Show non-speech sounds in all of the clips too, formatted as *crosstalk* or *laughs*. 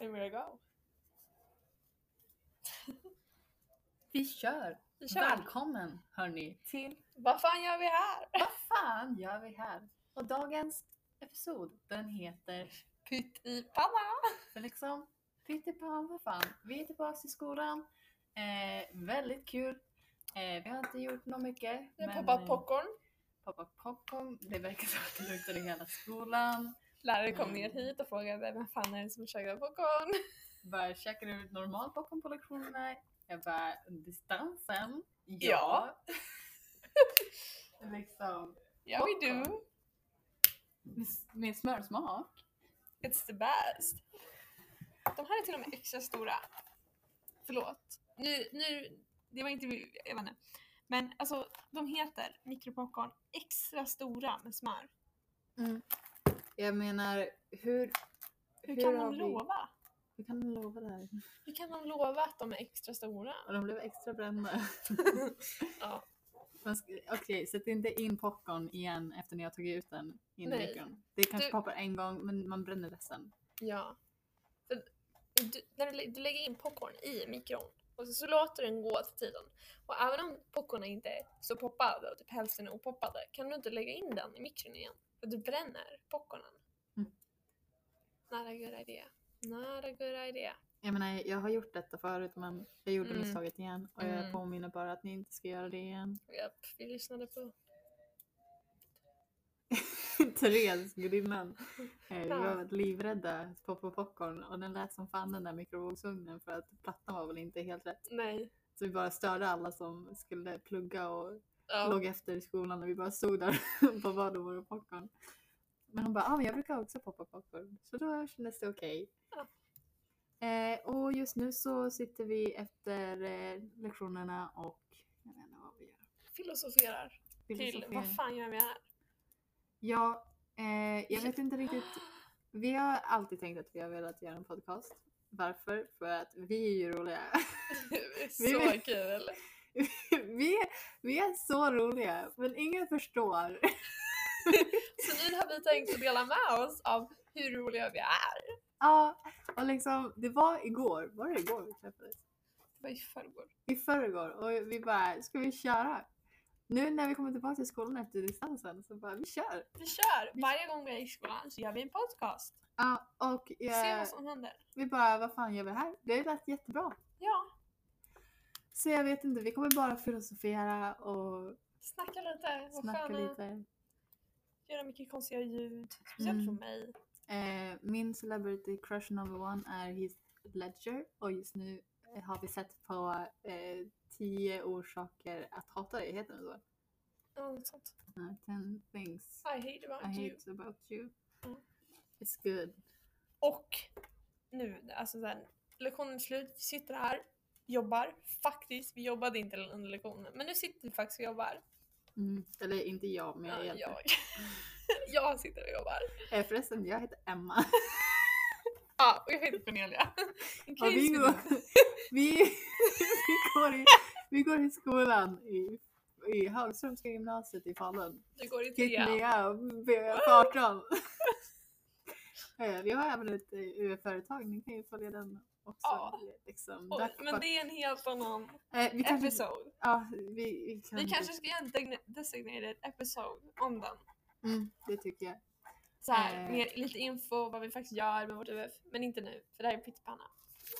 And we're go. Vi kör! Vi kör. Välkommen hörni till Vad fan gör vi här? Vad fan gör vi här? Och dagens episod den heter Pytt i panna! för liksom Pyttipan vad fan. Vi är tillbaka i skolan. Eh, väldigt kul. Eh, vi har inte gjort något mycket. Jag men, poppar eh, popcorn. poppa popcorn. Det verkar som att det luktar i hela skolan. Läraren kom Mm. ner hit och frågade vem fan är det som käkar popcorn? Bara käkar du normal popcorn på lektionerna? Jag bara distansen. *laughs* liksom Ja, we do. Popcorn. med, med smörsmak. It's the best. De här är till och med extra stora. Förlåt. Nu, nu, det var inte, jag vet inte. Men alltså, de heter mikropopcorn extra stora med smör. Jag menar, hur... Hur kan har de vi- lova? Hur kan de lova det här? Hur kan de lova att de är extra stora? Och de blev extra brända. *laughs* Ja. Men sk- Okej, sätt inte in popcorn igen efter när jag tog ut den in i Nej. mikron. Det kanske Du- poppar en gång, men man bränner resten. Ja. För du, när du, lä- du lägger in popcorn i mikron och så, så låter den gå till tiden. Och även om popcornen inte är så poppade och typ hälften är opoppade kan du inte lägga in den i mikron igen. För du bränner popcornen. Mm. Not a good idea. Not a good idea. Jag menar, jag har gjort detta förut, men jag gjorde Mm. misstaget igen. Och jag Mm. påminner bara att ni inte ska göra det igen. *laughs* Japp, vi lyssnade på... Therese, gudinnan. Eh, Vi Ja. var livrädda på, på popcorn och den lät som fan den där mikrovågsugnen för att plattan var väl inte helt rätt. Nej. Så vi bara störde alla som skulle plugga och Ja. låg efter i skolan och vi bara stod där på vad och *laughs* vår popcorn. Men hon bara, ah, men jag brukar också poppa popcorn. Så då kändes det okej. Ja. Eh, och just nu så sitter vi efter eh, lektionerna och jag vet inte vad vi gör. Filosoferar. Till Filosoferar. vad fan gör vi här? *laughs* Ja, eh, jag vet *gasps* inte riktigt. Vi har alltid tänkt att vi har velat göra en podcast. Varför? För att vi är ju roliga. *laughs* Det är så Vi- kul. vi, är- vi är så roliga, men ingen förstår. Så nu har vi tänkt att dela med oss av hur roliga vi är. Ja, och liksom, det var igår, var det igår vi träffades? Det var i förrgår. I förrgår och vi bara, ska vi köra? Nu när vi kommer tillbaka till skolan efter distansen så bara, vi kör! Vi kör! Varje gång vi är i skolan så gör vi en podcast. Ja, och Se eh, vad som händer. vi bara, vad fan gör vi här? Det lät jättebra. Ja, Så jag vet inte, vi kommer bara filosofera och snacka lite. Vad snacka sköna. lite. Göra mycket konstiga ljud. Speciellt Mm. från mig. Eh, min celebrity crush number one är Heath Ledger och just nu har vi sett på eh, 10 orsaker att hata dig, heter den så? Ja, något sånt. Ja, 10 Uh, things. I hate about I hate you. about you. Mm. It's good. Och nu, alltså sen, lektionen är slut. Vi sitter här, jobbar. Faktiskt, vi jobbade inte under lektionen. Men nu sitter vi faktiskt och jobbar. Mm. Eller inte jag, men jag Ja, hjälper. jag. *laughs* jag sitter och jobbar. Eh, förresten, jag heter Emma. Ja, och jag heter Cornelia. In *laughs* Och case vi, you *laughs* går, didn't- *laughs* vi, vi, går i, vi går i skolan i, i Hagströmska gymnasiet i Falun. Du går i trean. Kittlia *laughs* B18. Eh, Vi har även ett eh, UF-företag, ni kan ju följa den också. Ja. Liksom, Oj, Duck Men Buck- det är en helt annan Eh, vi kanske, episod. ja, vi, vi kan Vi kanske ska göra en degn- designated episode om den. mm, det tycker jag. Så här, Eh. med lite info vad vi faktiskt gör med vårt UF. Men inte nu, för det här är pyttipanna.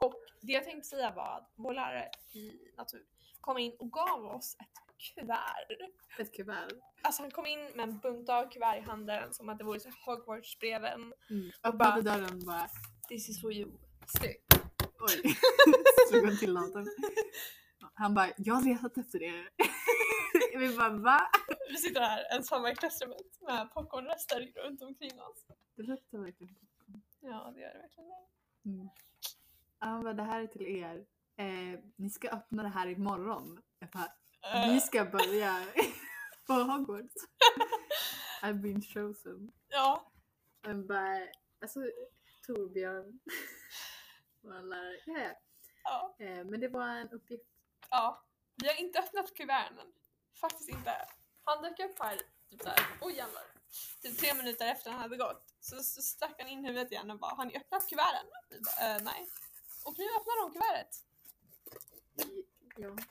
Och det jag tänkte säga var att vår lärare i natur kom in och gav oss ett kuvert. Ett kuvert. Alltså han kom in med en bunt av kuvert i handen som att det vore så här Hogwarts-breven. Mm. bara- Öppnade dörren och bara, This is for you. Typ. Stick. *laughs* oj. Slog han till datorn. Han bara, jag har letat efter er. *laughs* vi bara, va? Vi sitter här ensamma i klassrummet med popcornrester runt omkring oss. Det luktar verkligen Ja, det gör det verkligen. Mm. Han bara, det här är till er. Eh, ni ska öppna det här imorgon. Jag bara, Eh, Vi ska börja *laughs* *laughs* på Hogwarts. I've been chosen. ja, Men bara, alltså Torbjörn. *laughs* Vår lärare. Ja, ja. ja. Eh, Men det var en uppgift. Ja. Vi har inte öppnat kuverten. än. Faktiskt inte. Han dök upp här, typ såhär. Oj jävlar. Typ tre minuter efter han hade gått så, så stack han in huvudet igen och bara “Har ni öppnat kuverten?” Vi bara, äh, “Nej”. Och nu öppnar de kuvertet. Ja. *laughs*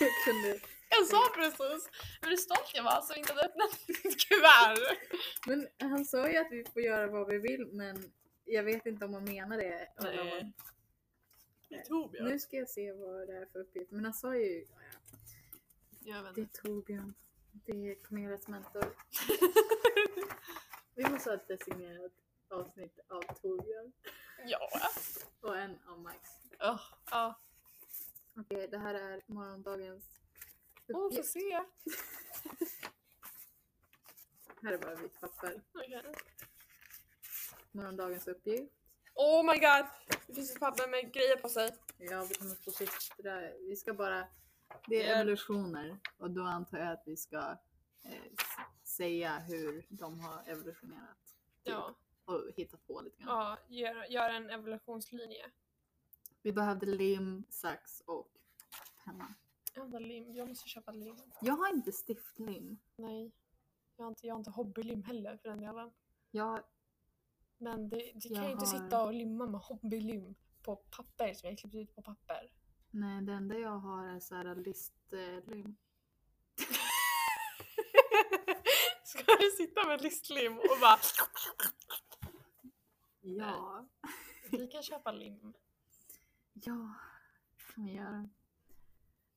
Jag kunde... Jag sa precis hur stolt jag var som inte hade öppnat ett kuvert. Men han sa ju att vi får göra vad vi vill men jag vet inte om han menar det. om han var Det tog jag. Nu ska jag se vad det är för uppgift. Men han sa ju Jag vet det är inte. Torbjörn. Det är Cornelias mentor. Vi måste ha ett designerat avsnitt av Torbjörn *laughs* Ja. och en av Max. Oh, oh. Okej, det här är morgondagens oh, får uppgift. se. här är bara vitt papper. Okej. Morgondagens uppgift. Oh my god! Det finns ett papper med grejer på sig. Ja, vi kommer få systra. Vi ska bara... Det Ja. är evolutioner och då antar jag att vi ska eh, s- säga hur de har evolutionerat Ja, och hitta på lite grann. ja gör, gör en evolutionslinje. Vi behövde lim, sax och penna. Vänta, lim. Jag måste köpa lim. Jag har inte stiftlim. Nej. Jag har inte, jag har inte hobbylim heller för den delen. Jag, Men det, du kan Jag ju inte har- sitta och limma med hobbylim på papper som jag klippt ut på papper. nej, det enda jag har är så här listlim. *laughs* Ska du sitta med listlim och bara Ja, Vi kan köpa lim. ja, kan vi göra.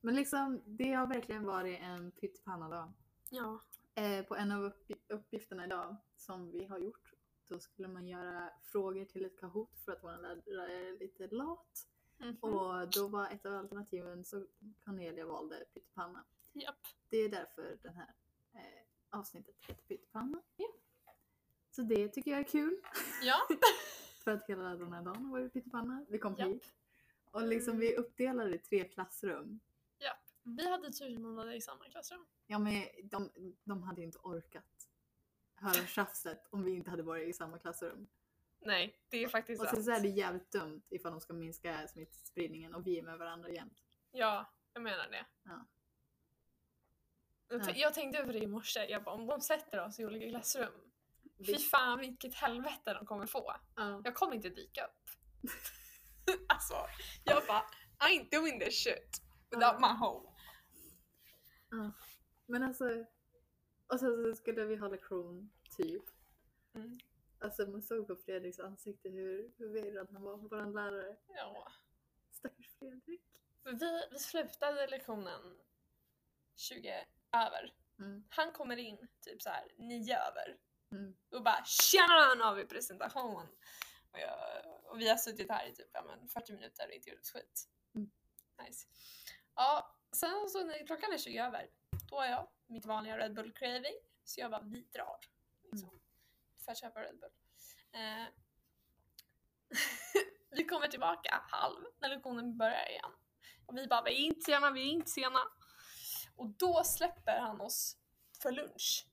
Men liksom, det har verkligen varit en pyttipanna dag. Ja. Eh, på en av uppi- uppgifterna idag som vi har gjort, då skulle man göra frågor till ett Kahoot för att vår lärare är lite lat. Mhm. Och då var ett av alternativen så Cornelia valde pyttipanna. Japp. Det är därför det här eh, avsnittet heter Pyttipanna. Så det tycker jag är kul. Ja. För att hela den här dagen har varit pyttipanna. Vi kom Japp. hit. Och liksom vi är uppdelade i tre klassrum. Vi hade tur som hamnade i samma klassrum. Ja men de, de hade ju inte orkat höra tjafset om vi inte hade varit i samma klassrum. Nej, det är faktiskt Och sen sant. så är det jävligt dumt ifall de ska minska smittspridningen och vi är med varandra jämt. Ja, jag menar det. Ja. Jag, Ja. t- jag tänkte över det i morse. Jag bara, om de sätter oss i olika klassrum. Fy Vi- fan vilket helvete de kommer få. Ja. Jag kommer inte dyka upp. *laughs* alltså, jag bara "Ah, I ain't doing this shit without my home. Men alltså, och sen så skulle vi ha lektion typ. Mm. Alltså man såg på Fredriks ansikte hur förvirrad han var, vår lärare. Ja. Stackars Fredrik. Men Vi, vi slutade lektionen 20 över. Mm. Han kommer in typ så här 9 över Mm. och bara “Tjena, nu har vi presentation!” och, jag, och vi har suttit här i typ ja, men 40 minuter och inte gjort ett skit. Mm. Nice. Ja, sen så när klockan är 20 över, då har jag mitt vanliga Red Bull craving så jag bara “Vi drar” liksom, Mm. för att köpa Red Bull. Eh, *laughs* vi kommer tillbaka halv när lektionen börjar igen. Och vi bara “Vi är inte sena, vi är inte sena” och då släpper han oss för lunch.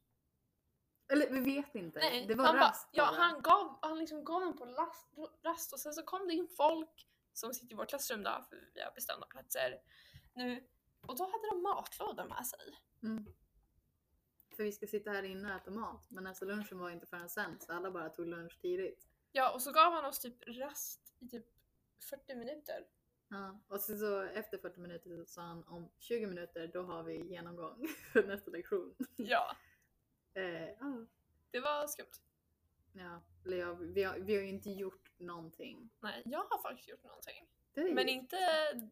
Eller vi vet inte. Nej, det var han, bara, rast ja, bara. han gav han liksom gav en på last, rast och sen så kom det in folk som sitter i vårt klassrum då, för vi har bestämda platser nu. Och då hade de matlådor med sig. Mm. För vi ska sitta här inne och äta mat. Men alltså lunchen var inte förrän sen så alla bara tog lunch tidigt. Ja, och så gav han oss typ rast i typ 40 minuter. Ja. Och sen så efter 40 minuter så sa han om 20 minuter då har vi genomgång *laughs* för nästa lektion. Ja, Eh, ja. det var skumt. ja. Eller ja, vi, har, vi har ju inte gjort någonting. Nej, jag har faktiskt gjort någonting. Det har vi Men gjort. inte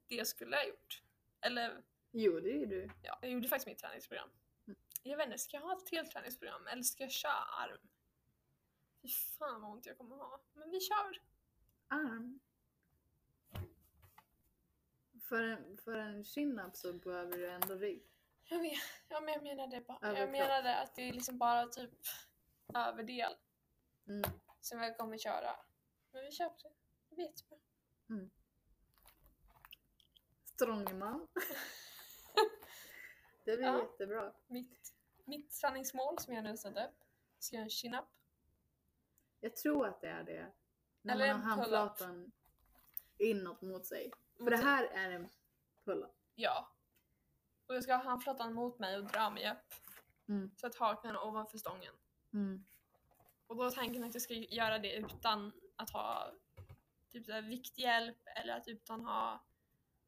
det jag skulle ha gjort. Eller, Jo, det är ju du. ja, Mm. jag gjorde faktiskt mitt träningsprogram. Jag vet inte, ska jag ha ett till träningsprogram eller ska jag köra arm? Fy fan vad ont jag kommer ha. Men vi kör! Arm. För en, för en chin-up så behöver du ändå rygg. Jag vet, ja, men jag menade bara, jag Överkropp. menade att det är liksom bara typ överdel Mm. som jag kommer köra. Men vi kör på det. Jag vet inte. Strongman. *laughs* det blir Ja. jättebra. Mitt, mitt träningsmål som jag nu satt upp ska jag göra en chin-up. Jag tror att det är det. När Eller man har en pull-up. handflatan inåt mot sig. För mot det en- här är en pull-up. Ja. Och jag ska ha handflatan mot mig och dra mig upp Mm. så att hakan är ovanför stången. Mm. Och då var tanken att jag skulle göra det utan att ha typ så här vikthjälp eller att utan ha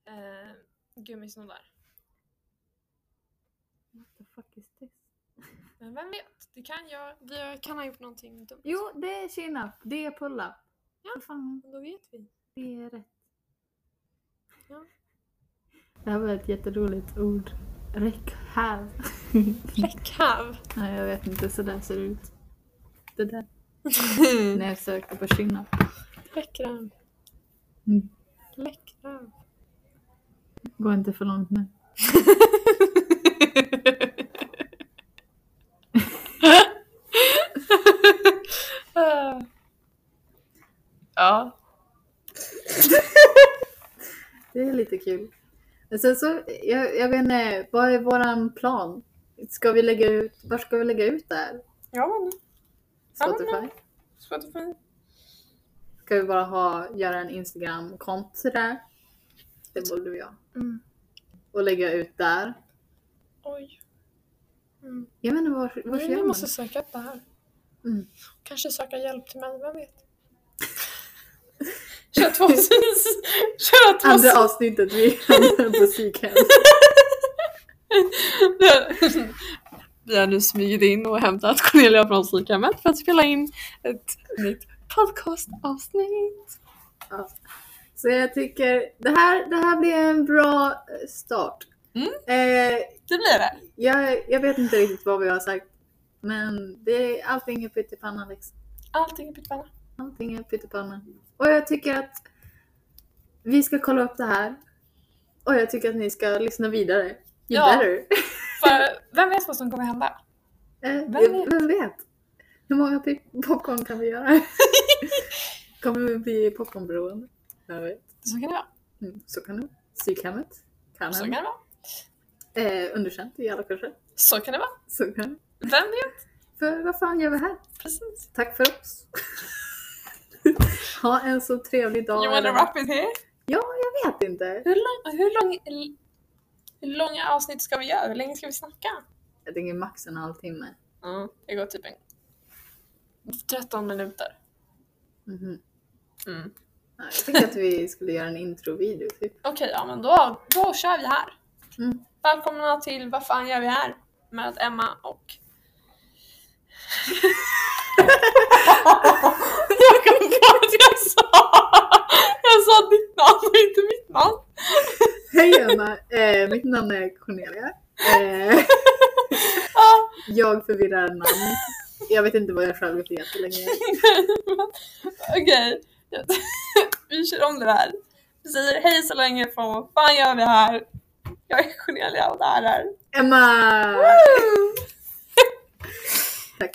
eh, gummisnoddar. What the fuck is this? Men vem vet, det kan jag. Vi kan ha gjort någonting dumt. Jo, det är chin-up, det är pull-up. Ja. Vad Fan, Men då vet vi. det är rätt. Ja. Det här var ett jätteroligt ord. Räck här. Räckhav. Nej, jag vet inte, så där ser det ut. Det där. När jag sökte på chin-up. Räckrav. Mm. Läckrav. Gå inte för långt nu. ja. Det är lite kul. Men Sen så, jag, jag vet inte, vad är våran plan? Ska vi lägga ut, var ska vi lägga ut det här? Ja, men Ja, Spotify? Spotify. Ska vi bara ha, göra en Instagram-konto till det här? Det borde vi ha. Mm. Och lägga ut där. Oj. Mm. Jag menar var, var Nu gör man? måste söka upp det här. Mm. Kanske söka hjälp till mig, vem *laughs* vet? Kör två *laughs* sis. Kör två sis. Andra avsnittet vi hamnar på psykhem. *laughs* Vi har nu smugit in och hämtat Cornelia från psykhemmet för att spela in ett nytt podcastavsnitt. Ja. Så jag tycker det här, det här blir en bra eh, start. Mm. Eh, Det blir det. jag, jag vet inte riktigt vad vi har sagt. Men det är, allting är pyttipanna liksom. Allting är pyttipanna. Allting är pyttipanna. Och jag tycker att vi ska kolla upp det här. Och jag tycker att ni ska lyssna vidare. You Ja. better. För vem vet vad som kommer hända? Eh, Vem vet? vem, vet? vem vet? Hur många pip- popcorn kan vi *laughs* göra? Kommer vi bli popcornberoende? Jag vet. Så kan det vara. Mm, så kan det vara. Psykhemmet. Kan Så kan hända. det vara. Eh, underkänt i alla kurser. Så kan det vara. Så kan Vem vet? För vad fan gör vi här? Precis. Tack för oss. *laughs* ha en så trevlig dag. You wanna eller- wrap it here? Jag vet inte. Hur, lång, hur, lång, hur långa avsnitt ska vi göra? Hur länge ska vi snacka? Jag tänker max en halvtimme. Mm. Det går typ en 13 minuter. Mhm. Mm. Ja, Jag tänkte att vi skulle göra en introvideo typ. Okej, ja men då, då kör vi här. Mm. Välkomna till Vad fan gör vi här? Med Emma och... *laughs* jag kom på att jag sa... Jag sa ditt namn och inte mitt namn. Hej Emma! Eh, mitt namn är Cornelia. Eh, Ja, *laughs* jag förvirrar namn. Jag vet inte vad jag själv heter längre. Okej, vi kör om det här. Vi säger hej så länge från Vad fan gör vi här? Jag är Cornelia och det här är... Emma!